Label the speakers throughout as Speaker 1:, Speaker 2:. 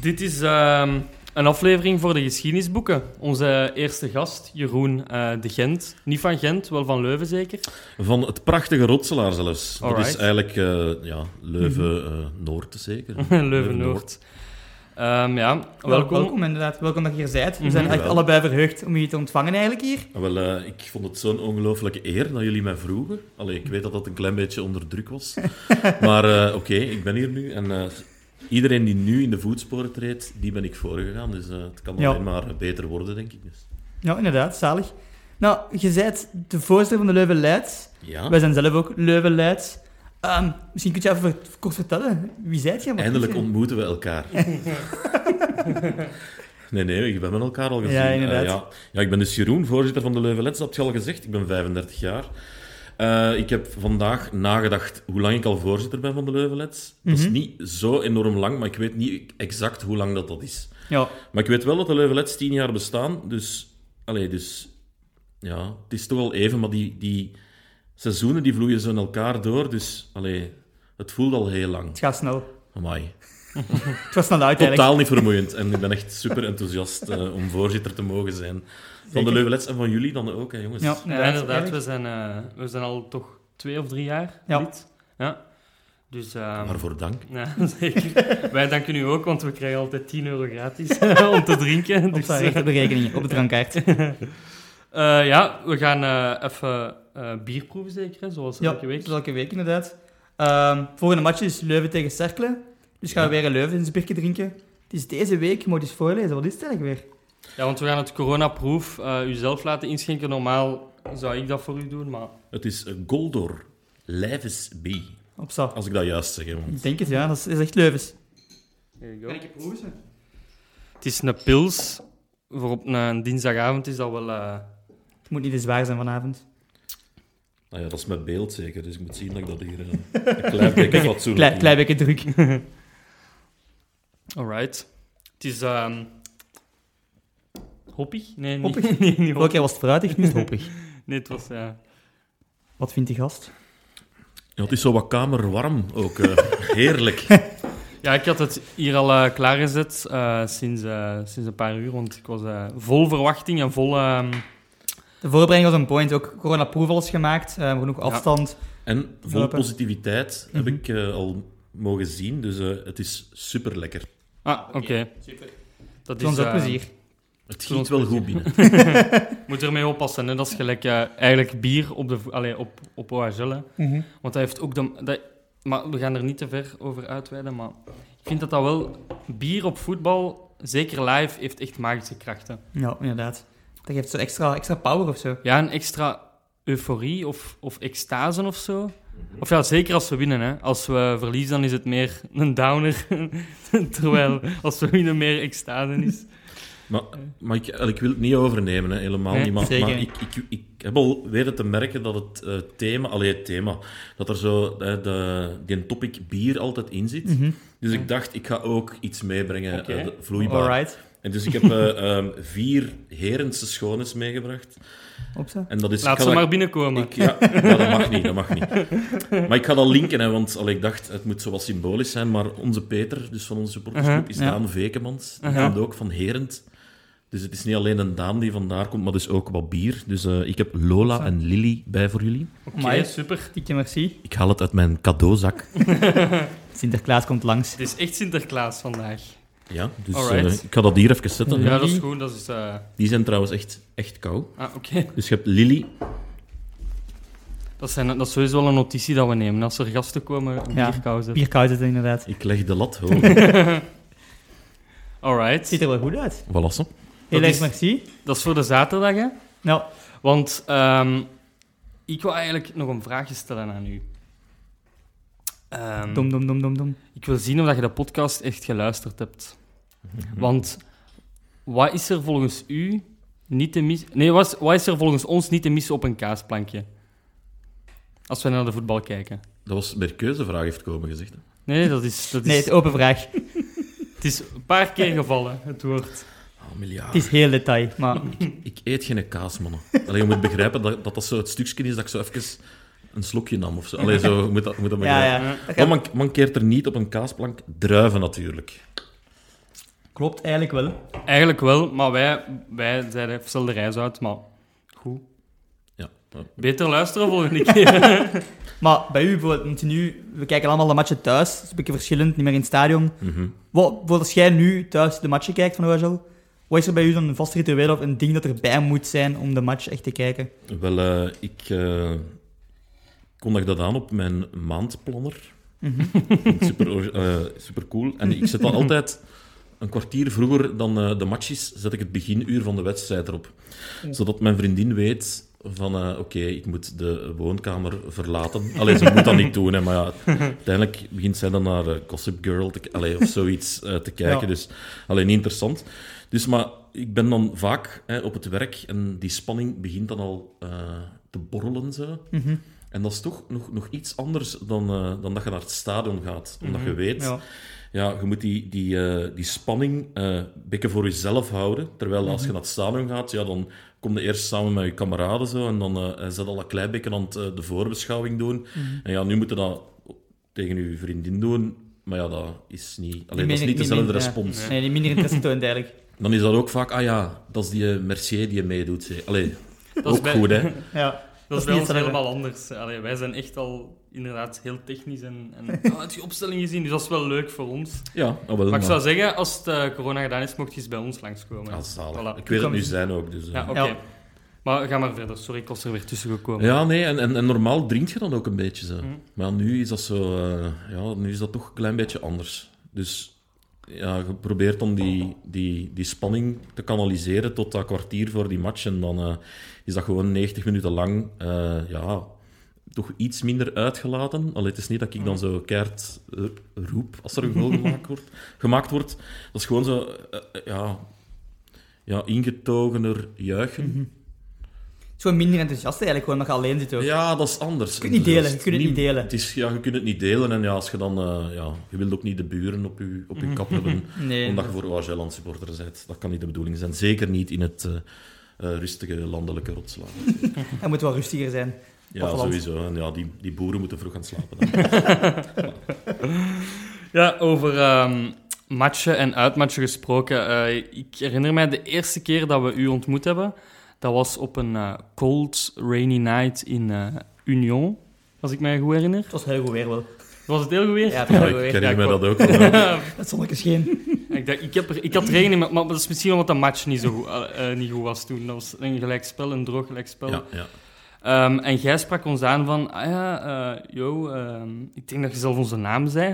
Speaker 1: Dit is ehm, een aflevering voor de geschiedenisboeken. Onze eerste gast, Jeroen eh, de Gent. Niet van Gent, wel van Leuven zeker.
Speaker 2: Van het prachtige Rotselaar zelfs. Dat
Speaker 1: Alright.
Speaker 2: is eigenlijk eh, ja, Leuven-Noord, zeker.
Speaker 1: Leuven-Noord. Ehm, ja, welkom.
Speaker 3: welkom inderdaad. Welkom dat je hier zijt. We
Speaker 1: Mhm.
Speaker 3: zijn echt
Speaker 2: Wel.
Speaker 3: allebei verheugd om je te ontvangen eigenlijk hier.
Speaker 2: Ah, Wel, eh, ik vond het zo'n ongelooflijke eer dat jullie mij vroegen. Allee, ik weet dat dat een klein beetje onder druk was. maar eh, oké, ik ben hier nu. En eh, iedereen die nu in de voetsporen treedt, die ben ik voorgegaan. Dus eh, het kan
Speaker 3: Ja.
Speaker 2: alleen maar beter worden, denk ik. Dus.
Speaker 3: Ja, inderdaad. Zalig. Nou, je zijt de voorzitter van de Leuven Leids.
Speaker 2: Ja,
Speaker 3: Wij zijn zelf ook Leuven Leids. Ehm, misschien kun je even ver- kort vertellen. Wie zijt je? Wat
Speaker 2: eindelijk
Speaker 3: doe je?
Speaker 2: ontmoeten we elkaar. Nee, nee, we hebben elkaar al gezien.
Speaker 3: Ja,
Speaker 2: Eh,
Speaker 3: inderdaad.
Speaker 2: ja. ja, ik ben dus Jeroen, voorzitter van de Leuvelets, dat heb je al gezegd. Ik ben 35 jaar. Eh, ik heb vandaag nagedacht hoe lang ik al voorzitter ben van de Leuvelets. Dat
Speaker 3: Mhm.
Speaker 2: is niet zo enorm lang, maar ik weet niet exact hoe lang dat, dat is.
Speaker 3: Ja,
Speaker 2: Maar ik weet wel dat de Leuvelets 10 jaar bestaan, dus... Allee, dus... Ja, het is toch al even, maar die, die seizoenen die vloeien zo in elkaar door, dus... Allee, het voelt al heel lang.
Speaker 3: het gaat snel.
Speaker 2: Amai.
Speaker 3: Het was snel uit eigenlijk.
Speaker 2: Totaal niet vermoeiend. En ik ben echt super enthousiast eh, om voorzitter te mogen zijn. Van de
Speaker 3: Zeker.
Speaker 2: Leuvelets en van jullie dan ook, hè, jongens.
Speaker 3: Ja,
Speaker 1: Ja, inderdaad, we zijn, eh, we zijn al toch twee of drie jaar
Speaker 3: Ja.
Speaker 1: lid. Ja. Dus, ehm,
Speaker 2: Waarvoor dank.
Speaker 1: ja, zeker. Wij danken u ook, want we krijgen altijd 10 euro gratis eh, om te drinken.
Speaker 3: Op
Speaker 1: Dus,
Speaker 3: zijn rechter de rekening, op de drankkaart.
Speaker 1: eh, ja, we gaan eh, even eh, bier proeven zeker, hè, zoals
Speaker 3: Ja,
Speaker 1: elke week.
Speaker 3: zoals elke week inderdaad. Ehm, volgende match is Leuven tegen Cerkelen. Dus gaan we weer een Leuven in biertje drinken. Het is deze week, je moet eens voorlezen. Wat is het eigenlijk weer?
Speaker 1: Ja, want we gaan het coronaproof eh u zelf laten inschenken. Normaal zou ik dat voor u doen, maar...
Speaker 2: Het is eh, Goldor Lijves B.
Speaker 3: Op zo.
Speaker 2: Als ik dat juist zeg. hè, want-
Speaker 3: Ik denk het, ja. Dat is, is echt Leuvens.
Speaker 1: Here you go.
Speaker 3: je proeven?
Speaker 1: Het is een pils. Voor op een dinsdagavond is dat wel... eh,
Speaker 3: Het moet niet te zwaar zijn vanavond.
Speaker 2: Nou ja, dat is met beeld zeker, dus ik moet zien dat ik dat hier eh, een klein beetje fatsoenlijk
Speaker 3: Klein, klein beetje druk.
Speaker 1: Alright. Het is... ehm hoppig? Nee, niet-
Speaker 3: Hoppig?
Speaker 1: nee, niet
Speaker 3: Vorige
Speaker 1: hoppig.
Speaker 3: keer was het fruitig, nu is het hoppig.
Speaker 1: Nee, het was... ja.
Speaker 3: Wat vindt die gast?
Speaker 2: Ja, het is zo wat kamerwarm ook. eh, heerlijk.
Speaker 1: Ja, ik had het hier al eh, klaargezet eh, sinds, eh, sinds een paar uur, want ik was eh, vol verwachting en vol... ehm,
Speaker 3: De voorbereiding was een point. Ook coronaproof alles gemaakt. eh, genoeg afstand.
Speaker 2: En vol
Speaker 3: Helpen.
Speaker 2: positiviteit heb
Speaker 3: Mhm.
Speaker 2: ik eh, al mogen zien, dus eh, het is super lekker.
Speaker 1: Ah, oké.
Speaker 3: Super.
Speaker 1: Dat
Speaker 3: Het is ons ook
Speaker 1: eh,
Speaker 3: plezier.
Speaker 2: Het
Speaker 1: Voor ons
Speaker 2: giet wel
Speaker 1: plezier.
Speaker 2: goed binnen.
Speaker 1: Moet ermee oppassen, hè. dat is gelijk eh, eigenlijk bier op, de, vo- allee, op, op OHL. hè. Want hij heeft ook de. dat- maar we gaan er niet te ver over uitweiden. Maar ik vind dat dat wel. Bier op voetbal, zeker live, heeft echt magische krachten.
Speaker 3: Ja, inderdaad. Dat geeft zo extra, extra power of zo.
Speaker 1: Ja, een extra euforie of, of extase of zo. Of ja, zeker als we winnen. Hè. Als we verliezen, dan is het meer een downer. Terwijl als we winnen, meer extase is.
Speaker 2: Maar, maar ik, ik wil het niet overnemen, hè, helemaal
Speaker 1: Nee,
Speaker 2: niet. Maar,
Speaker 3: zeker
Speaker 2: maar
Speaker 3: niet.
Speaker 2: ik, ik, ik heb al weten te merken dat het eh, thema, alleen het thema, dat er zo eh, de, die topic bier altijd in zit.
Speaker 3: Mhm.
Speaker 2: Dus ik dacht, ik ga ook iets meebrengen,
Speaker 1: Mhm. Oké.
Speaker 2: eh, vloeibaar.
Speaker 3: Alright.
Speaker 2: En dus ik heb eh, ehm, vier herense schones meegebracht.
Speaker 3: Op zo.
Speaker 2: En dat is, ik
Speaker 1: Laat
Speaker 2: ga
Speaker 1: ze
Speaker 2: dat-
Speaker 1: maar binnenkomen.
Speaker 2: ik, ja, ja, dat mag niet, dat mag niet. Maar ik ga dat linken, hè, want allee, ik dacht, het moet zo wat symbolisch zijn, maar onze Peter, dus van onze supportersgroep, is
Speaker 3: Mhm, ja.
Speaker 2: Daan Vekemans. Die
Speaker 1: Mhm.
Speaker 2: komt ook van Herent. Dus het is niet alleen een Daan die vandaar komt, maar dus ook wat bier. Dus eh, ik heb Lola en Lily bij voor jullie.
Speaker 1: Oké,
Speaker 3: Amai.
Speaker 1: super.
Speaker 3: Dikke merci.
Speaker 2: Ik haal het uit mijn cadeauzak.
Speaker 3: Sinterklaas komt langs.
Speaker 1: Het is echt Sinterklaas vandaag.
Speaker 2: Ja, dus
Speaker 1: Alright.
Speaker 2: eh, ik ga dat hier even zetten.
Speaker 1: Ja,
Speaker 2: hè.
Speaker 1: dat is goed. Dat is. eh,
Speaker 2: Die zijn trouwens echt, echt koud.
Speaker 1: Ah, oké.
Speaker 2: Dus je hebt Lily.
Speaker 1: Dat, zijn, dat is sowieso wel een notitie dat we nemen. Als er gasten komen, een
Speaker 3: Ja.
Speaker 1: bierkauw zetten.
Speaker 3: Bierkoud is het inderdaad.
Speaker 2: Ik leg de lat hoog.
Speaker 1: Alright.
Speaker 3: Ziet er wel goed uit.
Speaker 2: voilà, zo.
Speaker 1: Dat
Speaker 3: Heel erg
Speaker 1: is-
Speaker 3: merci.
Speaker 1: Dat is voor de zaterdag, hè?
Speaker 3: Nou,
Speaker 1: Want ehm, ik wil eigenlijk nog een vraagje stellen aan u. Ehm,
Speaker 3: dom, dom, dom, dom, dom.
Speaker 1: Ik wil zien of dat je de podcast echt geluisterd hebt.
Speaker 3: Mhm.
Speaker 1: Want wat is er volgens u niet te mis... Nee, wat is, wat is er volgens ons niet te missen op een kaasplankje? Als we naar de voetbal kijken.
Speaker 2: Dat was meer keuzevraag, heeft komen gezegd. hè.
Speaker 1: Nee, dat is... Dat is
Speaker 3: Nee, het is open vraag.
Speaker 1: het is een paar keer gevallen, het woord.
Speaker 2: Ah, miljard.
Speaker 3: Het is heel detail, maar
Speaker 2: Ik eet geen kaas, mannen. Allee, je moet begrijpen dat, dat dat zo het stukje is dat ik zo even een slokje nam of zo. Allee, zo, je moet dat, je moet dat
Speaker 3: ja,
Speaker 2: begrijpen.
Speaker 3: ja.
Speaker 2: Maar man, mankeert er niet op een kaasplank druiven natuurlijk.
Speaker 3: Klopt, eigenlijk wel. hè.
Speaker 1: Eigenlijk wel, maar wij, wij zeiden, stel de reis uit, maar goed.
Speaker 2: Ja. ja.
Speaker 1: Beter luisteren volgende keer.
Speaker 3: Maar bij u bijvoorbeeld, want nu, we kijken allemaal de matchen thuis. Het is een beetje verschillend, niet meer in het stadion.
Speaker 2: Mhm.
Speaker 3: Wat, bijvoorbeeld als jij nu thuis de matchen kijkt van OHL, wat is er bij u zo'n vast ritueel of een ding dat erbij moet zijn om de match echt te kijken?
Speaker 2: Wel, eh, ik eh, kondig dat aan op mijn maandplanner. super, ori- eh, super cool. En ik zet dan altijd een kwartier vroeger dan eh, de matches, zet ik het beginuur van de wedstrijd erop. Zodat mijn vriendin weet van, eh, oké, ik moet de woonkamer verlaten. Allee, ze moet dat niet doen, hè, maar ja, uiteindelijk begint zij dan naar eh, Gossip Girl te, k- allee, of zoiets eh, te kijken.
Speaker 3: Ja.
Speaker 2: Dus alleen interessant. Dus maar ik ben dan vaak hè, op het werk en die spanning begint dan al eh, te borrelen. Zo. En dat is toch nog, nog iets anders dan, eh, dan dat je naar het stadion gaat. Omdat je weet,
Speaker 3: Ja.
Speaker 2: ja. je moet die, die, eh, die spanning eh, een beetje voor jezelf houden. Terwijl als je naar het stadion gaat, ja, dan kom je eerst samen met je kameraden zo, en dan eh zet al een klein beetje aan het, eh, de voorbeschouwing doen. En ja, nu moet je dat tegen je vriendin doen. Maar ja, dat is niet, alleen, dat is
Speaker 3: minder-
Speaker 2: niet dezelfde
Speaker 3: minder-
Speaker 2: respons.
Speaker 3: ja. Nee, die minder interessant toont eigenlijk.
Speaker 2: Dan is dat ook vaak, ah ja, dat is die eh, Mercier die meedoet. hè. Allee,
Speaker 1: is
Speaker 2: ook
Speaker 1: bij-
Speaker 2: goed, hè.
Speaker 3: Ja.
Speaker 1: Dat is
Speaker 3: niet
Speaker 1: bij ons
Speaker 3: hetzelfde.
Speaker 1: helemaal anders. Allee, wij zijn echt al inderdaad heel technisch en, en ah, heb je opstelling gezien, dus dat is wel leuk voor ons.
Speaker 2: Ja, ah, wel,
Speaker 1: Maar ik
Speaker 2: maar-
Speaker 1: zou zeggen, als het eh, corona gedaan is, mocht je eens bij ons langskomen.
Speaker 2: Ah, zalig.
Speaker 1: Voilà.
Speaker 2: Ik weet het
Speaker 3: Kom
Speaker 2: nu
Speaker 3: eens.
Speaker 2: zijn ook, dus... eh.
Speaker 1: Ja, oké.
Speaker 3: Ja.
Speaker 1: Maar ga maar verder. Sorry, ik was er weer tussen gekomen.
Speaker 2: Ja, nee, en, en, en normaal drink je dan ook een beetje zo. Maar nu is dat zo... eh, ja, nu is dat toch een klein beetje anders. Dus ja, je probeert dan die, die, die spanning te kanaliseren tot dat kwartier voor die match. En dan eh, is dat gewoon 90 minuten lang, eh, ja... Toch iets minder uitgelaten. Allee, het is niet dat ik dan zo keihard eh, roep als er een goal gemaakt wordt. gemaakt wordt. Dat is gewoon zo, eh, eh, ja, ja, ingetogener juichen.
Speaker 3: Het is gewoon minder enthousiast eigenlijk, gewoon omdat je alleen zit ook.
Speaker 2: Ja, dat is anders. Je
Speaker 3: kunt niet delen, je kunt het niet delen.
Speaker 2: Het is, ja, je kunt het niet delen. En ja, als je dan... eh, ja, je wilt ook niet de buren op je, op je kap hebben,
Speaker 3: Nee.
Speaker 2: omdat je voor OHL-land supporter bent. Dat kan niet de bedoeling zijn. Zeker niet in het eh, eh, rustige landelijke rotslaap.
Speaker 3: Hij moet wel rustiger zijn.
Speaker 2: Ja,
Speaker 3: Of land.
Speaker 2: sowieso. En ja, die, die boeren moeten vroeg gaan slapen. dan.
Speaker 1: Ja, over ehm, matchen en uitmatchen gesproken. Eh, ik herinner mij de eerste keer dat we u ontmoet hebben. Dat was op een eh, cold, rainy night in eh, Union, als ik mij goed herinner.
Speaker 3: Het was heel goed weer wel.
Speaker 1: Was het heel goed weer?
Speaker 3: Ja, het was
Speaker 2: Ja,
Speaker 3: heel goed
Speaker 2: ik
Speaker 3: weer.
Speaker 2: herinner me
Speaker 1: Ja,
Speaker 2: dat ook.
Speaker 3: Het zonnetje scheen.
Speaker 1: Ik, dacht, ik, heb er, ik had regen in, maar, maar dat is misschien omdat de match niet, zo goed, eh, eh, niet goed was toen. Dat was een gelijkspel, een droog gelijkspel.
Speaker 2: Ja, ja.
Speaker 1: Ehm, en jij sprak ons aan van, ah ja, eh, yo, ehm, ik denk dat je zelf onze naam zei.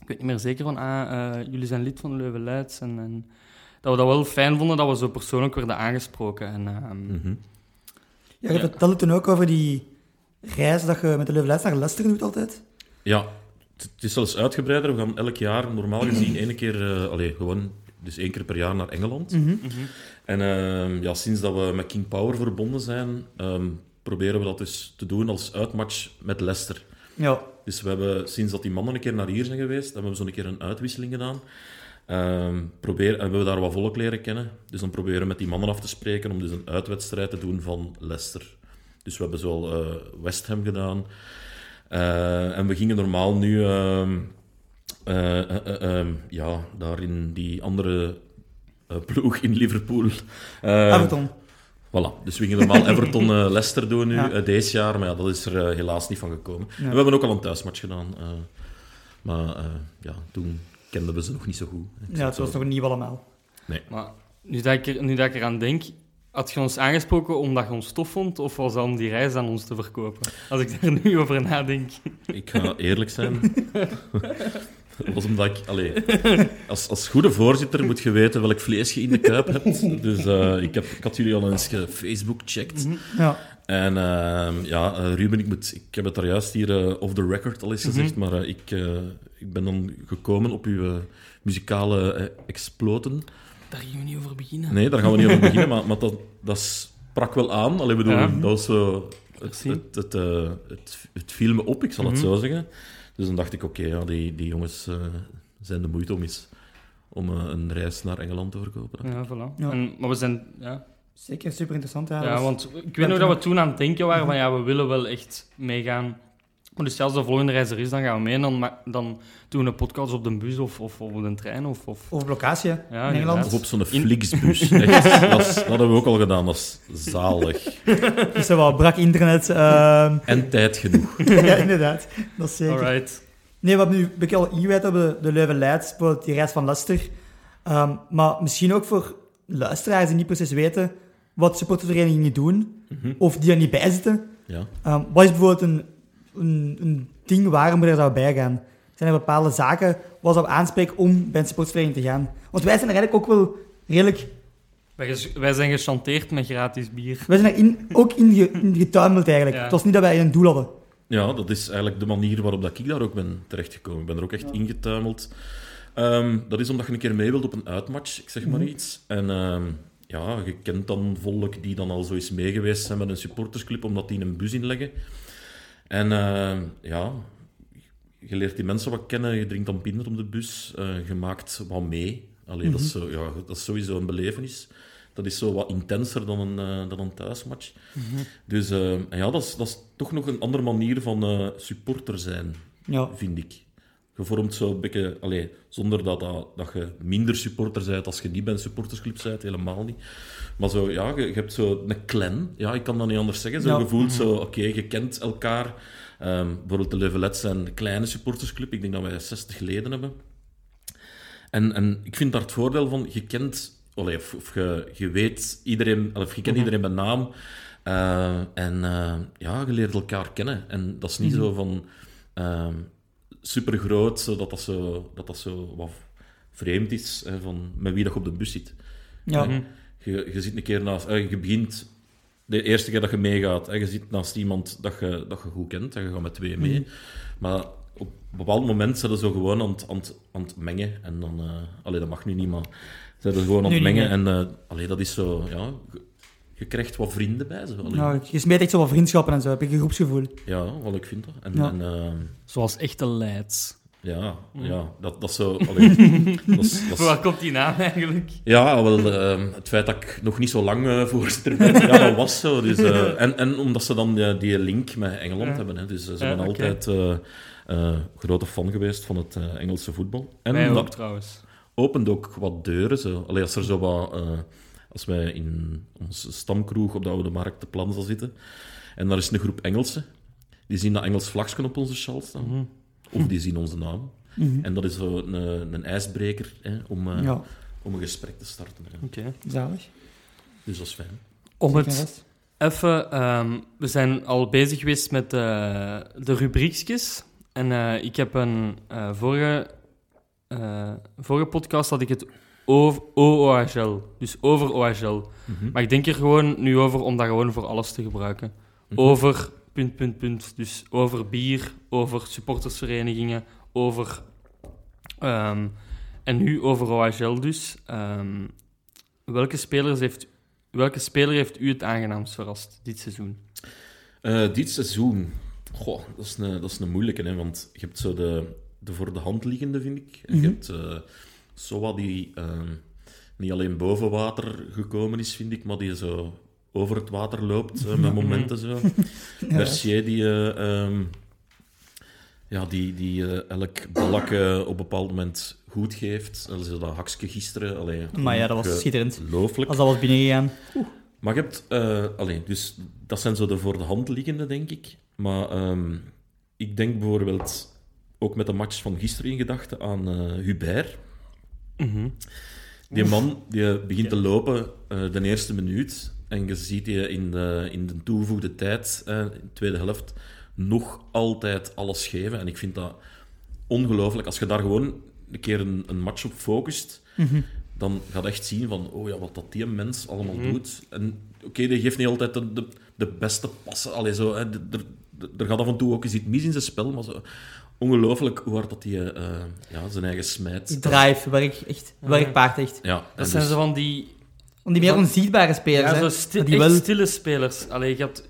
Speaker 1: Ik weet niet meer zeker van, ah, eh, jullie zijn lid van Leuven Leids. En, en dat we dat wel fijn vonden dat we zo persoonlijk werden aangesproken. En, ehm,
Speaker 2: Mhm.
Speaker 3: Ja, je vertelde toen ook over die reis dat je met de Leuven naar Leicester doet altijd.
Speaker 2: Ja, het het is zelfs uitgebreider. We gaan elk jaar normaal gezien één keer, eh, allee, gewoon, dus één keer per jaar naar Engeland.
Speaker 3: Mhm.
Speaker 2: En ehm, ja, sinds dat we met King Power verbonden zijn, ehm, proberen we dat dus te doen als uitmatch met Leicester.
Speaker 3: Ja.
Speaker 2: Dus we hebben, sinds dat die mannen een keer naar hier zijn geweest, hebben we zo'n keer een uitwisseling gedaan. Ehm probeer, hebben we daar wat volk leren kennen. Dus dan proberen we met die mannen af te spreken om dus een uitwedstrijd te doen van Leicester. Dus we hebben zoal eh, West Ham gedaan. Eh, en we gingen normaal nu ehm, eh, eh, eh, ehm, ja, daar in die andere eh, ploeg in Liverpool. Eh,
Speaker 3: Everton.
Speaker 2: Voilà, dus we gingen normaal Everton eh Leicester doen nu,
Speaker 3: Ja.
Speaker 2: eh, deze jaar, maar ja, dat is er eh, helaas niet van gekomen. En we hebben ook al een thuismatch gedaan, eh, maar eh, ja, toen kenden we ze nog niet zo goed. Ik
Speaker 3: Ja, het was nog niet allemaal.
Speaker 1: Maar nu dat, ik er, nu dat ik eraan denk, had je ons aangesproken omdat je ons tof vond? Of was dat om die reis aan ons te verkopen? Als ik daar nu over nadenk.
Speaker 2: Ik ga eerlijk zijn. Dat was omdat ik... Allee, als, als goede voorzitter moet je weten welk vlees je in de kuip hebt. Dus eh, ik, heb, ik had jullie al eens Facebook checked.
Speaker 3: Mhm. Ja.
Speaker 2: En ehm, ja, eh, Ruben, ik, moet, ik heb het daar juist hier eh, off the record al eens
Speaker 1: Mhm.
Speaker 2: gezegd, maar eh, ik, eh, ik ben dan gekomen op uw eh, muzikale eh, exploten.
Speaker 1: Daar gingen we niet over beginnen.
Speaker 2: Nee, daar gaan we niet over beginnen, maar, maar dat, dat sprak wel aan. Allee, bedoel,
Speaker 1: Ja.
Speaker 2: dat was zo het,
Speaker 1: Merci.
Speaker 2: het, het, eh, het, het viel me op, ik zal
Speaker 1: Mhm.
Speaker 2: het zo zeggen. Dus dan dacht ik, oké, ja, die, die jongens eh, zijn de moeite om eens om eh, een reis naar Engeland te verkopen.
Speaker 1: Ja, voilà.
Speaker 3: Ja.
Speaker 1: En, maar we zijn... Ja,
Speaker 3: Zeker super interessant. Ja,
Speaker 1: Ja,
Speaker 3: Dat was-
Speaker 1: want ik weet nog dat we toen aan het denken waren van ja, we willen wel echt meegaan. Maar dus zelfs de volgende reis er is, dan gaan we mee en dan, ma- dan doen we een podcast op de bus of, of, of op de trein. Of, of...
Speaker 3: Over locatie, hè?
Speaker 1: Ja,
Speaker 3: in Engeland.
Speaker 1: inderdaad.
Speaker 2: Of op zo'n
Speaker 1: In-
Speaker 2: Flixbus. Echt, dat, is- dat hebben we ook al gedaan, dat is zalig.
Speaker 3: Is er wel brak internet? ehm,
Speaker 2: En tijd genoeg.
Speaker 3: ja, inderdaad. Dat is zeker.
Speaker 1: Alright.
Speaker 3: Nee, wat nu, ik al hier weet hebben de Leuven-Leids, bijvoorbeeld die reis van Leicester. Ehm, maar misschien ook voor luisteraars die niet precies weten wat supporterverenigingen doen,
Speaker 2: Mhm.
Speaker 3: of die er niet bij zitten.
Speaker 2: Ja.
Speaker 3: Ehm, wat is bijvoorbeeld een, een, een ding waarom we daar zou bij gaan? Zijn er bepaalde zaken wat zou aanspreken om bij een sportvereniging te gaan? Want wij zijn er eigenlijk ook wel redelijk...
Speaker 1: Wij, ges- wij zijn gechanteerd met gratis bier.
Speaker 3: Wij zijn er in, ook in, ge- in getuimeld eigenlijk.
Speaker 1: Ja.
Speaker 3: Het was niet dat wij een doel hadden.
Speaker 2: Ja, dat is eigenlijk de manier waarop dat ik daar ook ben terechtgekomen. Ik ben er ook echt ingetuimeld. Ehm, dat is omdat je een keer mee wilt op een uitmatch, ik zeg maar iets. En ehm, ja, je kent dan volk die dan al zo eens meegeweest zijn met een supportersclub, omdat die een bus inleggen. En ehm, ja, je leert die mensen wat kennen, je drinkt dan binnen op de bus, eh, je maakt wat mee. Allee, dat, is zo, ja, dat is sowieso een belevenis. Dat is zo wat intenser dan een, eh, dan een thuismatch. Dus eh, en ja, dat is, dat is toch nog een andere manier van eh, supporter zijn,
Speaker 3: Ja.
Speaker 2: vind ik. Je vormt zo een beetje, allee, zonder dat, dat, dat je minder supporter bent als je niet bij een supportersclub bent, helemaal niet. Maar zo, ja, je, je hebt zo een clan, ja, ik kan dat niet anders zeggen. Zo,
Speaker 3: Ja.
Speaker 2: Je voelt zo, oké, je kent elkaar. Ehm, bijvoorbeeld de Levelets zijn een kleine supportersclub, ik denk dat wij 60 leden hebben. En, en ik vind daar het voordeel van, je kent, allee, of, of je, je weet iedereen, of je kent iedereen bij naam. Eh, en eh, ja, je leert elkaar kennen. En dat is niet zo van super groot, zodat dat zo, dat dat zo wat vreemd is, hè, van met wie dat je op de bus zit.
Speaker 3: Ja.
Speaker 1: Mhm.
Speaker 2: Nee. Je, je zit een keer naast, eh, je begint de eerste keer dat je meegaat, hè, je zit naast iemand dat je, dat je goed kent, en je gaat met twee mee.
Speaker 3: Mhm.
Speaker 2: Maar op een bepaald moment zijn ze zo gewoon aan het, aan het, aan het mengen. En dan, eh allee, dat mag nu niet, maar ze zijn gewoon aan het
Speaker 3: Nu niet
Speaker 2: mengen. En eh, allee, dat is zo, ja, je, je krijgt wat vrienden bij ze. Allee,
Speaker 3: Ja,
Speaker 2: ja,
Speaker 3: je smeet echt zo wat vriendschappen en zo, heb ik een groepsgevoel.
Speaker 2: wel, ik vind dat. En,
Speaker 3: Ja.
Speaker 2: en, eh,
Speaker 1: Zoals echte Leids.
Speaker 2: ja, ja, dat, dat is zo. allee, dat is, dat is-
Speaker 1: Waar komt die naam eigenlijk?
Speaker 2: Ja, wel, ehm, het feit dat ik nog niet zo lang eh, voorzitter ben, ja, dat was zo. Dus, eh, en, en omdat ze dan eh, die link met Engeland
Speaker 1: Ja.
Speaker 2: hebben. Hè, dus eh, ze
Speaker 1: Ja,
Speaker 2: zijn
Speaker 1: oké.
Speaker 2: altijd eh, eh, grote fan geweest van het eh, Engelse voetbal. En
Speaker 1: Wij
Speaker 2: dat
Speaker 1: ook trouwens.
Speaker 2: opent ook wat deuren. Zo. Allee, als er zo wat... eh, als wij in onze stamkroeg op de Oude Markt de Plaza zitten, en daar is een groep Engelsen, die zien dat Engels vlagje op onze sjaal staan.
Speaker 1: Mhm.
Speaker 2: Of die zien onze naam. En dat is zo een, eh, een ijsbreker hè, om, eh,
Speaker 3: Mhm. Ja,
Speaker 2: om een gesprek te starten. hè.
Speaker 1: Oké.
Speaker 3: zalig.
Speaker 2: Dus dat is fijn.
Speaker 1: Om
Speaker 3: Zeker
Speaker 1: het
Speaker 3: vast.
Speaker 1: even... ehm, we zijn al bezig geweest met eh, de rubriekjes. En eh, ik heb een eh, vorige, eh, vorige podcast had ik het over OOHL. Dus over OHL.
Speaker 3: Mhm.
Speaker 1: Maar ik denk er gewoon nu over om dat gewoon voor alles te gebruiken.
Speaker 2: Mhm.
Speaker 1: Over punt, punt, punt. Dus over bier, over supportersverenigingen, over... ehm, en nu over OHL dus. Ehm, welke, spelers heeft, welke speler heeft u het aangenaamst verrast dit seizoen?
Speaker 2: Eh, dit seizoen, goh, dat is een, dat is een moeilijke, hè, want je hebt zo de, de voor de hand liggende, vind ik. En Je
Speaker 3: Mhm.
Speaker 2: hebt eh Soa die ehm, niet alleen boven water gekomen is, vind ik, maar die zo over het water loopt eh, met momenten zo. Mercier die, eh, ehm, ja, die, die eh, elk balk eh, op een bepaald moment goed geeft. Dat is dat hakske gisteren. Allee,
Speaker 3: Maar ja, dat was schitterend.
Speaker 2: Ongelooflijk.
Speaker 3: Als dat was binnengegaan.
Speaker 2: Maar je hebt... eh, allee, dus dat zijn zo de voor de hand liggende, denk ik. Maar ehm, ik denk bijvoorbeeld ook met de match van gisteren in gedachten aan eh, Hubert. Die man die begint te lopen eh, de eerste minuut. En je ziet je in de, in de toegevoegde tijd, eh, in de tweede helft, nog altijd alles geven. En ik vind dat ongelooflijk. Als je daar gewoon een keer een, een match op focust,
Speaker 1: Mhm.
Speaker 2: dan gaat je echt zien van, oh ja, wat dat die mens allemaal doet. En oké, die geeft niet altijd de, de, de beste passen. Allee, zo, hè, de- de- de- er gaat af en toe ook eens iets mis in zijn spel, maar zo, ongelooflijk hoe hard dat hij eh, ja, zijn eigen
Speaker 3: Die
Speaker 2: smijt.
Speaker 3: drive, werk echt, werkpaard echt.
Speaker 2: Ja, en
Speaker 1: Dat zijn
Speaker 2: dus-
Speaker 1: ze van die
Speaker 3: Om die meer
Speaker 1: Wat?
Speaker 3: onzichtbare spelers,
Speaker 1: ja,
Speaker 3: hè.
Speaker 1: zo sti-
Speaker 3: Maar die
Speaker 1: echt
Speaker 3: wel-
Speaker 1: stille spelers. Allee, je hebt,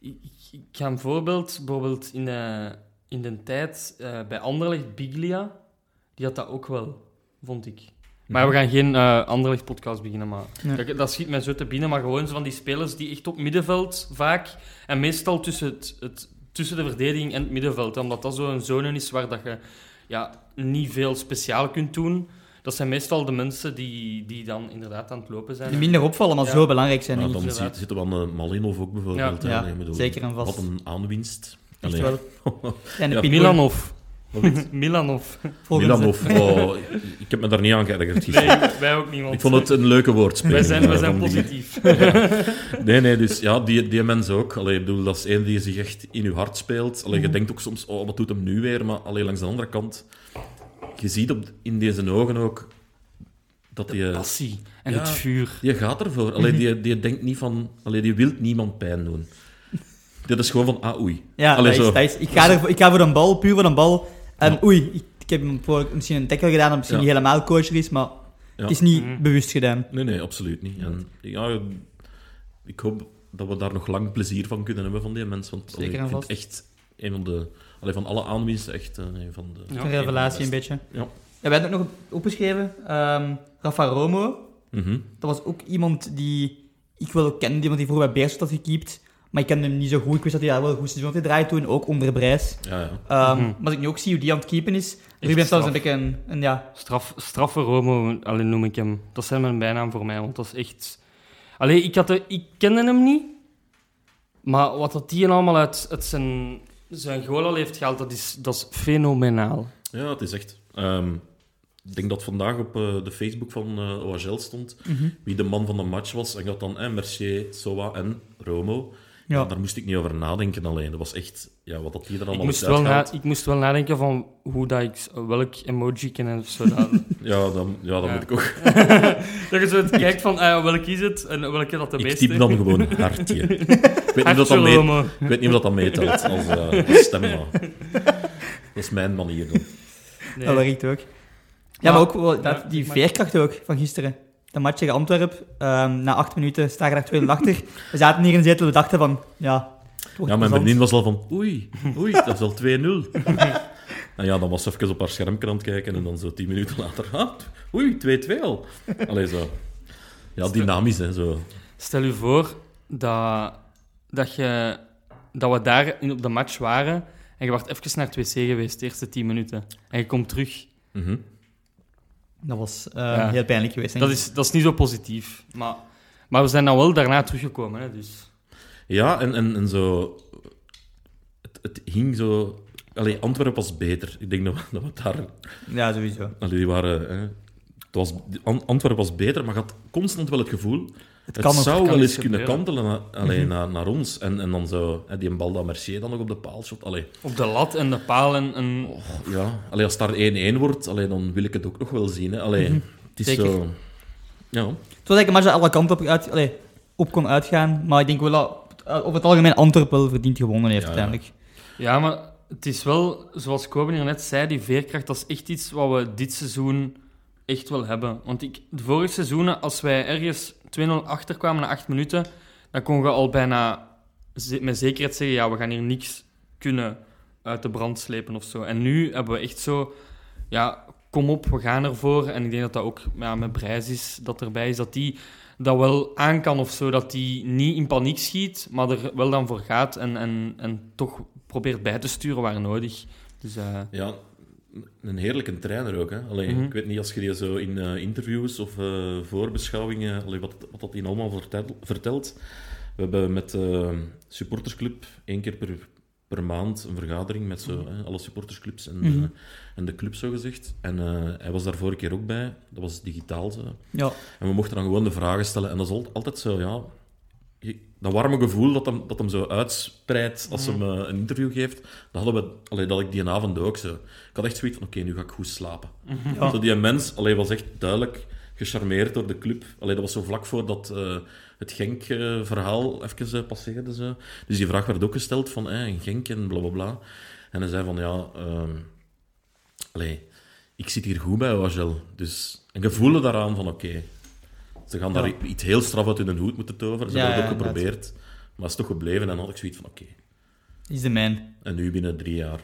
Speaker 1: ik, ik ga een voorbeeld, bijvoorbeeld in de, in de tijd eh, bij Anderlecht, Biglia, die had dat ook wel, vond ik. Maar
Speaker 3: Mhm.
Speaker 1: we gaan geen eh Anderlecht-podcast beginnen, maar
Speaker 3: Nee.
Speaker 1: dat, dat schiet mij zo te binnen. Maar gewoon zo van die spelers die echt op middenveld vaak, en meestal tussen het, het, tussen de verdediging en het middenveld. Omdat dat zo'n zone is waar dat je ja, niet veel speciaal kunt doen. Dat zijn meestal de mensen die, die dan inderdaad aan het lopen zijn.
Speaker 3: Die minder opvallen, maar
Speaker 1: Ja.
Speaker 3: zo belangrijk zijn.
Speaker 2: Maar
Speaker 3: denk ik.
Speaker 2: dan
Speaker 1: inderdaad.
Speaker 2: zit- zitten we aan eh, Malinov ook bijvoorbeeld.
Speaker 1: Ja.
Speaker 2: hè.
Speaker 3: Ja,
Speaker 2: Ik bedoel,
Speaker 3: zeker en vast.
Speaker 2: Wat een aanwinst.
Speaker 3: Echt
Speaker 2: Allee,
Speaker 3: wel. En de
Speaker 2: Ja.
Speaker 3: Pitbull,
Speaker 1: Milanov.
Speaker 2: wat is-
Speaker 1: Milanov.
Speaker 3: volgens de-
Speaker 2: Milanov, oh, ik heb me daar niet aan geërgerd
Speaker 1: Nee,
Speaker 2: gisteren.
Speaker 1: wij ook niet. want
Speaker 2: Ik vond het een leuke woordspeling.
Speaker 1: Wij zijn, wij
Speaker 2: eh,
Speaker 1: zijn
Speaker 2: van die-
Speaker 1: positief.
Speaker 2: Nee, nee, dus ja, die, die mensen ook. Allee, ik bedoel, dat is één die zich echt in uw hart speelt. Allee, je
Speaker 1: Mhm.
Speaker 2: denkt ook soms, oh, wat doet hem nu weer? Maar allee, langs de andere kant, je ziet op, in deze ogen ook dat die...
Speaker 1: Passie en
Speaker 2: Ja.
Speaker 1: het vuur.
Speaker 2: Je gaat ervoor. Allee,
Speaker 1: Mhm.
Speaker 2: die, die denkt niet van... Allee, die wil niemand pijn doen. Dit is gewoon van, ah, oei.
Speaker 3: Ja,
Speaker 2: Allee,
Speaker 3: dat is,
Speaker 2: zo.
Speaker 3: dat is- ik, ga er, ik ga voor een bal, puur voor een bal. En oei, ik, ik heb hem voor, misschien een tackle gedaan dat misschien
Speaker 2: Ja.
Speaker 3: niet helemaal kosher is, maar
Speaker 2: Ja.
Speaker 3: het is niet
Speaker 1: Mhm.
Speaker 3: bewust gedaan.
Speaker 2: Nee, nee, absoluut
Speaker 1: Mm.
Speaker 2: niet. En, ja, ik hoop dat we daar nog lang plezier van kunnen hebben van die mensen. Want allee,
Speaker 3: Zeker en
Speaker 2: ik vind
Speaker 3: vast.
Speaker 2: echt een van de... Allee, van alle aanwinsten echt eh, een van de...
Speaker 1: Ja.
Speaker 3: een revelatie een beetje.
Speaker 2: Ja.
Speaker 3: Ja, we hebben ook nog opgeschreven, ehm Rafa Romo.
Speaker 2: Mhm.
Speaker 3: Dat was ook iemand die ik wel kende, iemand die vroeger bij Beerschot had gekiept. Maar ik kende hem niet zo goed. Ik wist dat hij daar wel een goed seizoen had gedraaid toen, ook onder Brijs.
Speaker 2: Ja, ja.
Speaker 3: Ehm,
Speaker 1: Mhm.
Speaker 3: Maar als ik nu ook zie hoe die aan het keepen is, Ruben
Speaker 1: straf.
Speaker 3: zelfs een beetje een, een ja,
Speaker 1: Straf, straffe Romo, alleen noem ik hem. Dat zijn mijn bijnaam voor mij, want dat is echt... Allee, ik, had de, ik kende hem niet, maar wat dat die allemaal uit, uit zijn, zijn goal al heeft gehaald, dat is, dat is fenomenaal.
Speaker 2: Ja, het is echt. Ehm, ik denk dat vandaag op eh, de Facebook van eh OHL stond
Speaker 1: Mhm.
Speaker 2: wie de man van de match was. En dat dan eh, Mercier, Soa en Romo.
Speaker 3: ja,
Speaker 2: Ja, daar moest ik niet over nadenken alleen. Dat was echt ja, wat dat hier dan
Speaker 1: Ik
Speaker 2: allemaal
Speaker 1: moest,
Speaker 2: heeft
Speaker 1: wel na,
Speaker 2: uitgehaald.
Speaker 1: ik moest wel nadenken van hoe dat ik, welk emoji ken en of zo. Dat,
Speaker 2: Ja, dan, ja, dat
Speaker 1: Ja.
Speaker 2: moet ik ook.
Speaker 1: dat je zo het kijkt van ah, welke is het en welke dat de
Speaker 2: Ik
Speaker 1: meeste
Speaker 2: typ dan gewoon hartje. ik, weet niet of dat
Speaker 1: Hartje
Speaker 2: dat mee,
Speaker 1: Romo.
Speaker 2: ik weet niet of dat dat meetelt als, eh als stem. maar Dat is mijn manier dan.
Speaker 1: Nee.
Speaker 3: dat werkt ook. Ja,
Speaker 1: Maar-
Speaker 3: maar, ook wel, dat,
Speaker 1: Ja,
Speaker 3: die
Speaker 1: maar-
Speaker 3: veerkracht ook van gisteren. De match tegen Antwerpen, ehm, na acht minuten sta je daar 82. We zaten hier in de zetel, we dachten van, ja, het wordt
Speaker 2: Ja, mijn
Speaker 3: plezant.
Speaker 2: vriendin was al van, oei, oei, dat is al 2-0. en ja, dan was ze even op haar schermkrant kijken en dan zo tien minuten later, ah, oei, 2-2 al. Allee, zo. Ja, dynamisch, hè, zo.
Speaker 1: Stel u voor dat, dat, je, dat we daar in, op de match waren en je werd even naar het wc geweest, de eerste 10 minuten. En je komt terug.
Speaker 2: Mhm.
Speaker 3: Dat was ehm,
Speaker 1: Ja.
Speaker 3: heel pijnlijk geweest. denk
Speaker 1: Dat
Speaker 3: ik.
Speaker 1: is, dat is niet zo positief. Maar, maar we zijn dan wel daarna teruggekomen. Hè, dus.
Speaker 2: Ja, en, en, en zo... Het, het hing zo... Allee, Antwerpen was beter. Ik denk dat we, dat we daar...
Speaker 3: Ja, sowieso.
Speaker 2: Allee, die waren... Hè, het was, An- Antwerpen was beter, maar je had constant wel het gevoel
Speaker 3: Het,
Speaker 2: Het
Speaker 3: kan nog. Mhm.
Speaker 2: zou
Speaker 1: kan
Speaker 2: wel
Speaker 1: iets
Speaker 2: eens kunnen
Speaker 1: gebeuren.
Speaker 2: kantelen na- allee, naar, naar ons. En, en dan zo, hè, die bal dat Mercier dan nog op de paal shot. Allee,
Speaker 1: Op de lat en de paal en... en
Speaker 2: ja. allee, als daar 1-1 wordt, allee, dan wil ik het ook nog wel zien. Hè. Allee, het is
Speaker 3: Mhm. Zeker.
Speaker 2: zo... Ja.
Speaker 3: Het was eigenlijk een match dat alle kanten op, uit, allee, op kon uitgaan. Maar ik denk wel dat eh, over het algemeen Antwerpen wel verdiend gewonnen heeft
Speaker 2: Ja, ja.
Speaker 3: uiteindelijk.
Speaker 1: Ja, maar het is wel, zoals Koben hier net zei, die veerkracht, dat is echt iets wat we dit seizoen echt wel hebben. Want ik, de vorige seizoenen, als wij ergens 2-0 achterkwamen na 8 minuten, dan kon je al bijna ze- met zekerheid zeggen, ja, we gaan hier niks kunnen uit de brand slepen of zo. En nu hebben we echt zo, ja, kom op, we gaan ervoor. En ik denk dat dat ook ja, met Brijs is, dat erbij is, dat die dat wel aan kan of zo. Dat die niet in paniek schiet, maar er wel dan voor gaat en, en, en toch probeert bij te sturen waar nodig. Dus eh,
Speaker 2: ja, een heerlijke trainer ook. Hè. Allee,
Speaker 1: Mhm.
Speaker 2: Ik weet niet als je die zo in eh, interviews of eh, voorbeschouwingen, allee, wat, wat dat in allemaal vertel- vertelt. We hebben met de supportersclub één keer per, per maand een vergadering met zo, hè, alle supportersclubs en,
Speaker 3: Mhm.
Speaker 2: eh, en de club, zogezegd. En eh, hij was daar vorige keer ook bij. Dat was digitaal. Zo.
Speaker 3: Ja,
Speaker 2: En we mochten dan gewoon de vragen stellen. En dat is al- altijd zo, ja... je- Dat warme gevoel dat hem, dat hem zo uitspreidt als hij een interview geeft, dat, hadden we, allee, dat had ik die avond ook zo. Ik had echt zoiets van, oké, nu ga ik goed slapen.
Speaker 3: Ja.
Speaker 2: Zo die mens allee, was echt duidelijk gecharmeerd door de club. Allee, dat was zo vlak voordat eh het Genk-verhaal even eh, passeerde. Zo. Dus die vraag werd ook gesteld van, eh, en Genk en blablabla. Bla, bla. En hij zei van, ja... ehm, allee, ik zit hier goed bij Wagel. Dus, en je voelde daaraan van, oké... ze gaan daar
Speaker 3: Ja.
Speaker 2: iets heel straf uit hun hoed moeten toveren. Ze
Speaker 3: Ja,
Speaker 2: hebben het
Speaker 3: ja,
Speaker 2: ook
Speaker 3: inderdaad.
Speaker 2: geprobeerd. Maar het is toch gebleven. En dan had ik zoiets van, oké...
Speaker 3: is de man.
Speaker 2: en nu binnen drie jaar...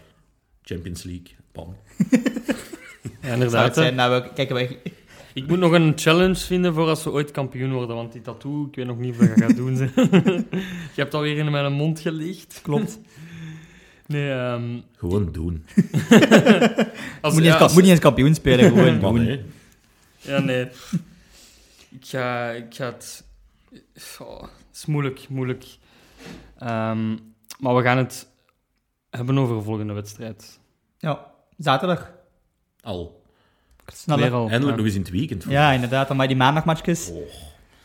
Speaker 2: Champions League. Bam.
Speaker 1: ja,
Speaker 3: Zou het
Speaker 1: inderdaad. hè.
Speaker 3: zijn, nou, we kijken wij.
Speaker 1: Ik moet nog een challenge vinden voor als we ooit kampioen worden, want die tattoo, ik weet nog niet of ik dat ga doen. zeg. Je hebt alweer in mijn mond gelegd.
Speaker 3: Klopt.
Speaker 1: Nee, ehm,
Speaker 2: Gewoon doen.
Speaker 1: als, ja,
Speaker 3: moet, niet eens, ka-
Speaker 1: als-
Speaker 3: moet niet eens kampioen spelen, gewoon
Speaker 2: Man,
Speaker 3: doen.
Speaker 2: hè.
Speaker 1: Ja, nee. Ik ga, ik ga het... Goh, het is moeilijk, moeilijk. Ehm, maar we gaan het hebben over de volgende wedstrijd.
Speaker 3: Ja, zaterdag.
Speaker 2: Al.
Speaker 3: Snel, hè?
Speaker 1: Weer al.
Speaker 2: Eindelijk
Speaker 1: Oh, Ja.
Speaker 2: nog eens in het weekend.
Speaker 3: Ja, inderdaad. Maar die maandagmatchjes.
Speaker 2: Oh.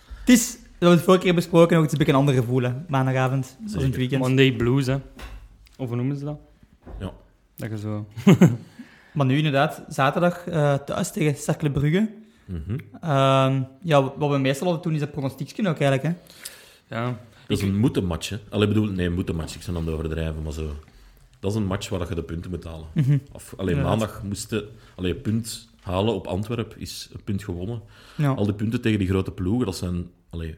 Speaker 3: Het is, dat we het vorige keer besproken, ook het is een beetje een ander gevoel, hè. Maandagavond, zoals in het
Speaker 2: Zeker.
Speaker 3: weekend.
Speaker 1: Monday Blues, hè. Of hoe noemen ze dat?
Speaker 2: Ja.
Speaker 1: Dat je zo...
Speaker 3: Maar nu inderdaad, zaterdag eh, thuis tegen Cercle Brugge.
Speaker 2: Mhm.
Speaker 3: Ehm, ja, wat we meestal altijd doen, is dat pronostiekje ook eigenlijk, hè.
Speaker 1: Ja.
Speaker 2: Dat is een moeten-match. hè. Allee, bedoel, nee, een moeten-match. Ik zou aan het overdrijven, maar zo. Dat is een match waar dat je de punten moet halen.
Speaker 3: Mhm.
Speaker 2: Of, allee,
Speaker 3: Inderdaad.
Speaker 2: maandag moesten... Allee, punt halen op Antwerpen is een punt gewonnen.
Speaker 3: Ja.
Speaker 2: Al die punten tegen die grote ploegen, dat zijn... Allee,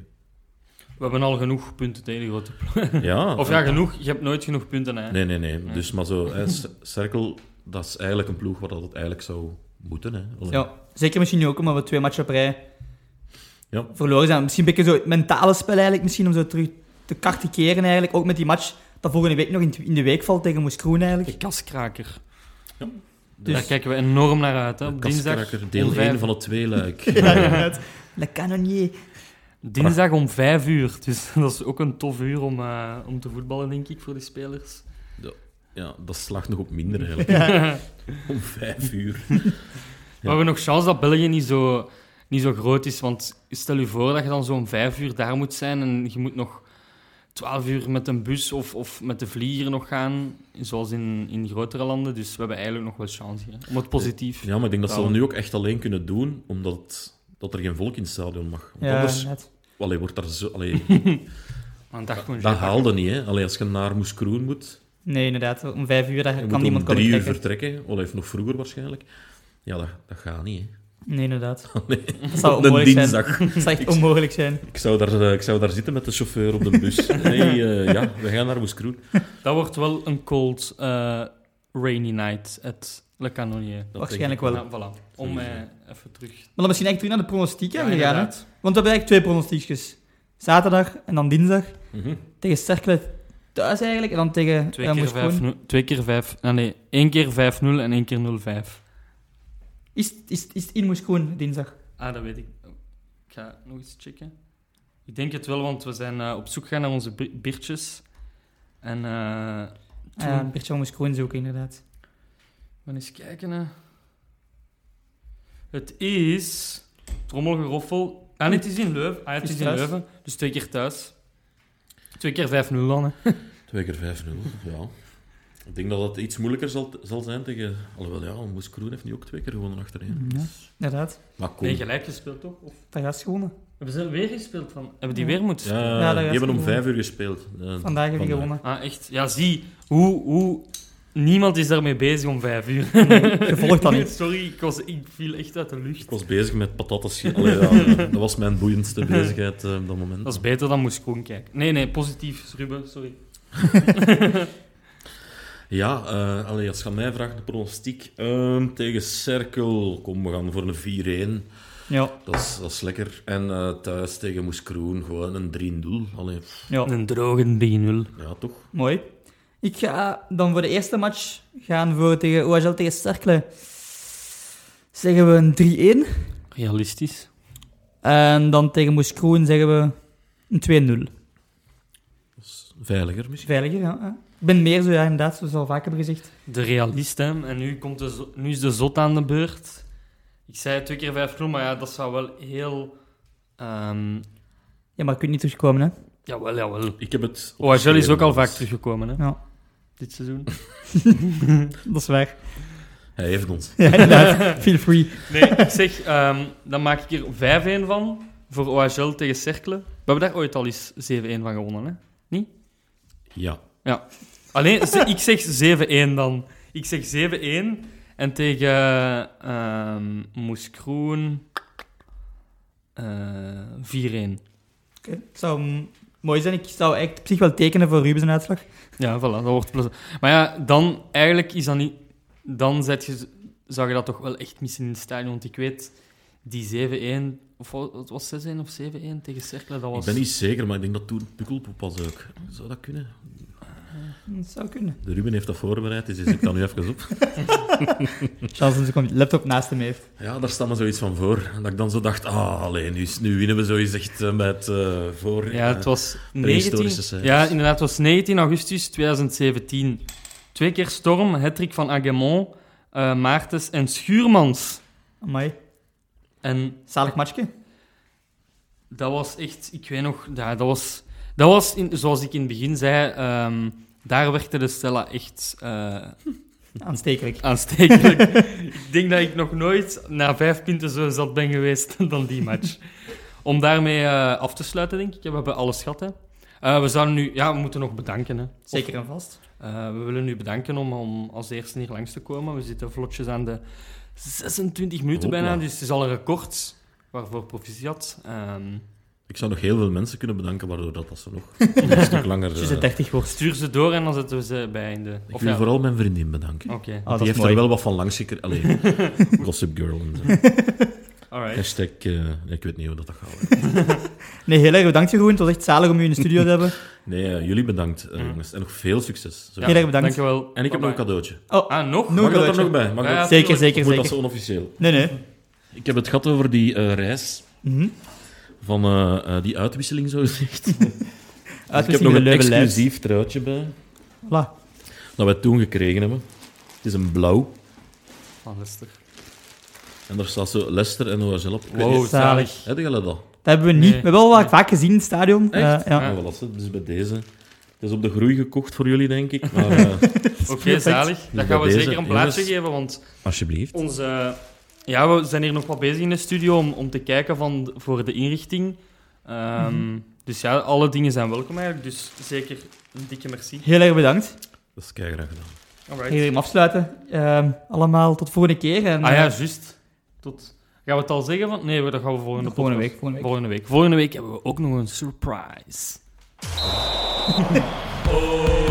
Speaker 1: We hebben al genoeg punten tegen de grote ploeg.
Speaker 2: Oh, ja.
Speaker 1: Of ja, genoeg. Je hebt nooit genoeg punten, hè.
Speaker 2: Nee, nee, nee. Dus maar zo, hè, C- Cirkel, dat is eigenlijk een ploeg waar dat het eigenlijk zou moeten. Hè. Allee,
Speaker 3: ja. Zeker misschien nu ook, omdat we twee matchen op rij
Speaker 2: Ja.
Speaker 3: verloren zijn. Misschien een beetje zo het mentale spel eigenlijk, misschien om zo terug te kart te keren eigenlijk. Ook met die match dat volgende week nog in, in de week valt tegen Moes Kroen eigenlijk.
Speaker 1: De kaskraker.
Speaker 2: Dus-
Speaker 1: Daar kijken we enorm naar uit, hè.
Speaker 2: de
Speaker 1: Op dinsdag,
Speaker 2: Kaskraker, deel
Speaker 1: om vijf-
Speaker 2: 1 van het tweeluik.
Speaker 3: Ja, inderdaad. Le canonier.
Speaker 1: dinsdag om vijf uur. Dus dat is ook een tof uur om, eh, om te voetballen, denk ik, voor die spelers.
Speaker 2: Ja, dat slaagt nog op minder eigenlijk. Om vijf uur.
Speaker 1: Maar we hebben nog chance dat België niet zo, niet zo groot is. Want stel je voor dat je dan zo'n vijf uur daar moet zijn en je moet nog twaalf uur met een bus of, of met de vlieger nog gaan, zoals in, in grotere landen. Dus we hebben eigenlijk nog wel chance hier. Om het positief.
Speaker 2: Ja, maar ik denk dat ze dat
Speaker 1: Ja.
Speaker 2: nu ook echt alleen kunnen doen, omdat dat er geen volk in het stadion mag. Want
Speaker 3: Ja,
Speaker 2: anders
Speaker 3: inderdaad.
Speaker 2: allee, wordt daar zo... Allee,
Speaker 1: Maar een dag gewoon
Speaker 2: dat
Speaker 1: geen-
Speaker 2: haalde niet, hè. Allee, als je naar Moeskroen moet,
Speaker 3: Nee, inderdaad. Om vijf uur daar
Speaker 2: je
Speaker 3: kan
Speaker 2: moet om
Speaker 3: niemand komen
Speaker 2: drie uur
Speaker 3: trekken.
Speaker 2: vertrekken. Allee, of nog vroeger waarschijnlijk. Ja, dat, dat gaat niet, hè.
Speaker 3: Nee, inderdaad.
Speaker 2: Nee.
Speaker 3: Dat zou
Speaker 2: Op een
Speaker 3: onmogelijk zijn.
Speaker 2: dinsdag.
Speaker 3: Dat zou echt onmogelijk zijn.
Speaker 2: Ik zou, daar, eh, ik zou daar zitten met de chauffeur op de bus. Nee, eh, ja, we gaan naar Moeskroen.
Speaker 1: Dat wordt wel een cold eh, rainy night at Le Canonier.
Speaker 2: Dat
Speaker 3: Waarschijnlijk
Speaker 2: denk
Speaker 3: wel.
Speaker 1: Ja, voilà. Om eh,
Speaker 2: Sowieso.
Speaker 1: even terug...
Speaker 3: Maar dan misschien echt terug naar de pronostiek
Speaker 1: Ja,
Speaker 3: hebben gegaan. Hè?
Speaker 1: inderdaad.
Speaker 3: Want we hebben eigenlijk twee pronostiekjes. Zaterdag en dan dinsdag.
Speaker 2: ik. Mhm.
Speaker 3: Tegen Cercle thuis eigenlijk. En dan tegen
Speaker 1: Twee
Speaker 3: eh,
Speaker 1: keer,
Speaker 3: Moes Kroen.
Speaker 1: vijf, nul- twee keer vijf... ah, Nee, één keer 5-0 en één keer 0-5.
Speaker 3: Is, is, is het in Moes Kroen dinsdag?
Speaker 1: Ah, dat weet ik. Ik ga nog eens checken. Ik denk het wel, want we zijn eh, op zoek gegaan naar onze bi- biertjes. En eh toen...
Speaker 3: Ja, Bertje van Moes Kroen zoeken inderdaad.
Speaker 1: we gaan eens kijken. hè. Het is... Trommelgeroffel. Ah, nee, het is in Leuven. Ah, het
Speaker 3: Is
Speaker 1: is, in
Speaker 3: thuis.
Speaker 1: Leuven. Dus twee keer thuis. Twee keer 5-0 dan, hè.
Speaker 2: Twee keer 5-0, ja. Ik denk dat dat iets moeilijker zal, zal zijn tegen... Alhoewel, ja, Moes Kroen heeft nu ook twee keer gewonnen achtereen.
Speaker 3: Ja. Inderdaad.
Speaker 2: Maar kom.
Speaker 1: Nee, gelijk gespeeld, toch? Of
Speaker 3: Dat gaat gewonnen.
Speaker 1: hebben ze weer gespeeld van? Hebben die
Speaker 3: Ja.
Speaker 1: weer moeten
Speaker 2: Ja,
Speaker 1: spelen?
Speaker 3: dat
Speaker 2: die
Speaker 3: is
Speaker 2: hebben om
Speaker 3: goed.
Speaker 2: vijf uur gespeeld. Eh,
Speaker 3: Vandaag heb
Speaker 2: vandaag.
Speaker 3: je gewonnen.
Speaker 1: Ah, echt? Ja, zie. Hoe... hoe... Niemand is daarmee bezig om vijf uur.
Speaker 3: Gevolgd dan niet.
Speaker 1: Sorry, ik, was, ik viel echt uit de lucht.
Speaker 2: Ik was bezig met patatas. Allee, ja, dat was mijn boeiendste bezigheid eh, op dat moment.
Speaker 1: Dat is beter dan moest Koen kijken. Nee, nee, positief, Ruben, sorry.
Speaker 2: Ja, eh allee, als je aan mij vraagt, de pronostiek. eh, tegen Cirkel. Kom, we gaan voor een 4-1.
Speaker 3: Ja.
Speaker 2: Dat is, dat is lekker. En eh, thuis tegen Moes Kroen, gewoon een 3-0. Allee, pff,
Speaker 3: ja.
Speaker 1: Een droge 3-0.
Speaker 2: ja, toch?
Speaker 3: Mooi. Ik ga dan voor de eerste match gaan voor tegen OHL tegen Cercle. Zeggen we een 3-1.
Speaker 1: Realistisch.
Speaker 3: En dan tegen Moes Kroen zeggen we een 2-0.
Speaker 2: Dat is veiliger misschien.
Speaker 3: Veiliger, ja. ja. Ik ben meer zo, ja, inderdaad, zoals we al vaak hebben gezegd.
Speaker 1: De realist, hè. En nu, komt de zo- nu is de zot aan de beurt. Ik zei twee keer vijf groen, maar ja, dat zou wel heel... ehm
Speaker 3: Ja, maar je kunt niet terugkomen, hè.
Speaker 1: jawel, jawel.
Speaker 2: Ik heb het...
Speaker 1: OHL Oh, is ook al vaak
Speaker 2: opgeschreven.
Speaker 1: teruggekomen, hè.
Speaker 3: Ja.
Speaker 1: Dit seizoen.
Speaker 3: Dat is waar.
Speaker 2: Hij heeft ons.
Speaker 3: Ja, inderdaad. Feel free.
Speaker 1: Nee, ik zeg, ehm, dan maak ik er 5-1 van voor OHL tegen Cercle. We hebben daar ooit al eens 7-1 van gewonnen, hè.
Speaker 2: Ja.
Speaker 1: Alleen, ze- ik zeg 7-1 dan. Ik zeg 7-1. En tegen ehm Moes Kroen eh, 4-1.
Speaker 3: Oké. Het zou mm, mooi zijn. Ik zou echt op zich wel tekenen voor Ruben zijn uitslag.
Speaker 1: Ja, voilà, dat wordt plezant. Maar ja, dan eigenlijk is dat niet... Dan zet je, zou je dat toch wel echt missen in het stadion. Want ik weet, die 7-1... Of wa- het was 6-1 of 7-1 tegen Cercle, dat was...
Speaker 2: Ik ben niet zeker, maar ik denk dat toen Pukkelpoep was ook. Zou dat kunnen?
Speaker 3: Dat zou kunnen.
Speaker 2: De Ruben heeft dat voorbereid, dus die zit dan nu even op.
Speaker 3: Charles dus die zijn laptop naast hem heeft.
Speaker 2: Ja, daar staat me zoiets van voor. Dat ik dan zo dacht, ah, alleen nu, is- nu winnen we zoiets echt eh, met eh, voor...
Speaker 1: Ja,
Speaker 2: eh,
Speaker 1: het was
Speaker 2: prehistorische
Speaker 1: 19...
Speaker 2: cijfers.
Speaker 1: Ja, inderdaad, het was 19 augustus 2017. Twee keer storm, hattrick van Agamon, eh, Maartens en Schuurmans.
Speaker 3: Amai.
Speaker 1: En
Speaker 3: Zalig matchje.
Speaker 1: Dat was echt, ik weet nog, ja, dat was, dat was in, zoals ik in het begin zei, ehm, daar werkte de Stella echt eh,
Speaker 3: Aanstekelijk.
Speaker 1: aanstekelijk. ik denk dat ik nog nooit na vijf punten zo zat ben geweest dan die match. Om daarmee eh, af te sluiten, denk ik. Ja, We hebben alles gehad. Hè. Eh, we zouden nu, ja, we moeten nog bedanken. Hè.
Speaker 3: Zeker en vast.
Speaker 1: Eh, we willen u bedanken om, om als eerste hier langs te komen. We zitten vlotjes aan de 26 minuten
Speaker 2: Hopla.
Speaker 1: bijna, dus het is al een record. Waarvoor proficiat. Ehm,
Speaker 2: Ik zou nog heel veel mensen kunnen bedanken, waardoor dat, dat ze nog een stuk langer... eh,
Speaker 3: Als je ze 30 wordt.
Speaker 1: Stuur ze door en dan zetten we ze bij in de...
Speaker 2: ik
Speaker 1: of
Speaker 2: wil
Speaker 1: ja,
Speaker 2: vooral mijn vriendin bedanken.
Speaker 1: Oké,
Speaker 3: Ah, dat
Speaker 2: Die
Speaker 3: is
Speaker 2: heeft
Speaker 3: mooi.
Speaker 2: er wel wat van langs gekregen. Allee, Gossip Girl. En, zo.
Speaker 1: alright.
Speaker 2: hashtag, eh, ik weet niet hoe dat, dat gaat.
Speaker 3: Nee, heel erg bedankt Jeroen. Het was echt zalig om u in de studio te hebben.
Speaker 2: Nee, eh, jullie bedankt, eh,
Speaker 1: Mhm.
Speaker 2: jongens. En nog veel succes. Zo.
Speaker 1: Ja,
Speaker 3: Heel erg bedankt.
Speaker 1: Dankjewel.
Speaker 2: En ik heb nog een
Speaker 1: Bye-bye.
Speaker 2: cadeautje.
Speaker 1: Ah, nog?
Speaker 3: Nog.
Speaker 2: Mag dat er
Speaker 3: cadeautje.
Speaker 2: nog bij? Mag
Speaker 1: Ja,
Speaker 2: dat-
Speaker 3: Zeker,
Speaker 1: tuurlijk.
Speaker 3: zeker,
Speaker 2: of moet dat zo
Speaker 3: zeker.
Speaker 2: onofficieel?
Speaker 3: Nee, nee.
Speaker 2: Ik heb het gehad over die eh, reis
Speaker 3: Mhm.
Speaker 2: van eh, eh, die uitwisseling, zo gezegd. ik heb
Speaker 3: Uitwisseling
Speaker 2: nog
Speaker 3: met
Speaker 2: een
Speaker 3: leuke lijst.
Speaker 2: exclusief truitje bij,
Speaker 3: Voilà.
Speaker 2: dat wij toen gekregen hebben. Het is een blauw.
Speaker 1: Ah, Lester.
Speaker 2: En daar staat zo Lester en OSL op. Ik weet
Speaker 1: Wow,
Speaker 2: niet,
Speaker 1: zalig.
Speaker 2: Heb je dat al?
Speaker 3: Dat hebben we niet.
Speaker 1: Nee.
Speaker 3: We hebben wel vaak, vaak gezien in het stadion. Eh,
Speaker 2: Echt?
Speaker 3: ja.
Speaker 1: Ja.
Speaker 2: Ah, wel, dat is het. dus bij deze. Het is op de groei gekocht voor jullie, denk ik. Maar eh,
Speaker 1: Oké, zalig.
Speaker 2: bij
Speaker 1: Dan gaan we
Speaker 2: deze,
Speaker 1: zeker een plaatsje
Speaker 2: jongens.
Speaker 1: geven, want
Speaker 2: alsjeblieft.
Speaker 1: onze... Ja, we zijn hier nog wat bezig in de studio om, om te kijken van, de- voor de inrichting. Ehm,
Speaker 3: Mhm.
Speaker 1: Dus ja, alle dingen zijn welkom eigenlijk, dus zeker een dikke merci.
Speaker 3: Heel erg bedankt.
Speaker 2: Dat is keihard gedaan.
Speaker 3: Ik
Speaker 1: Alright.
Speaker 3: ga hier hem afsluiten. Ehm, allemaal tot volgende keer. En,
Speaker 1: Ah ja,
Speaker 3: eh,
Speaker 1: juist. Tot... Gaan we het al zeggen? Want... Nee, dat gaan we volgende,
Speaker 3: volgende
Speaker 1: podcast-
Speaker 3: week. Volgende week.
Speaker 1: Volgende week. Volgende week hebben we ook nog een surprise.
Speaker 2: Oh,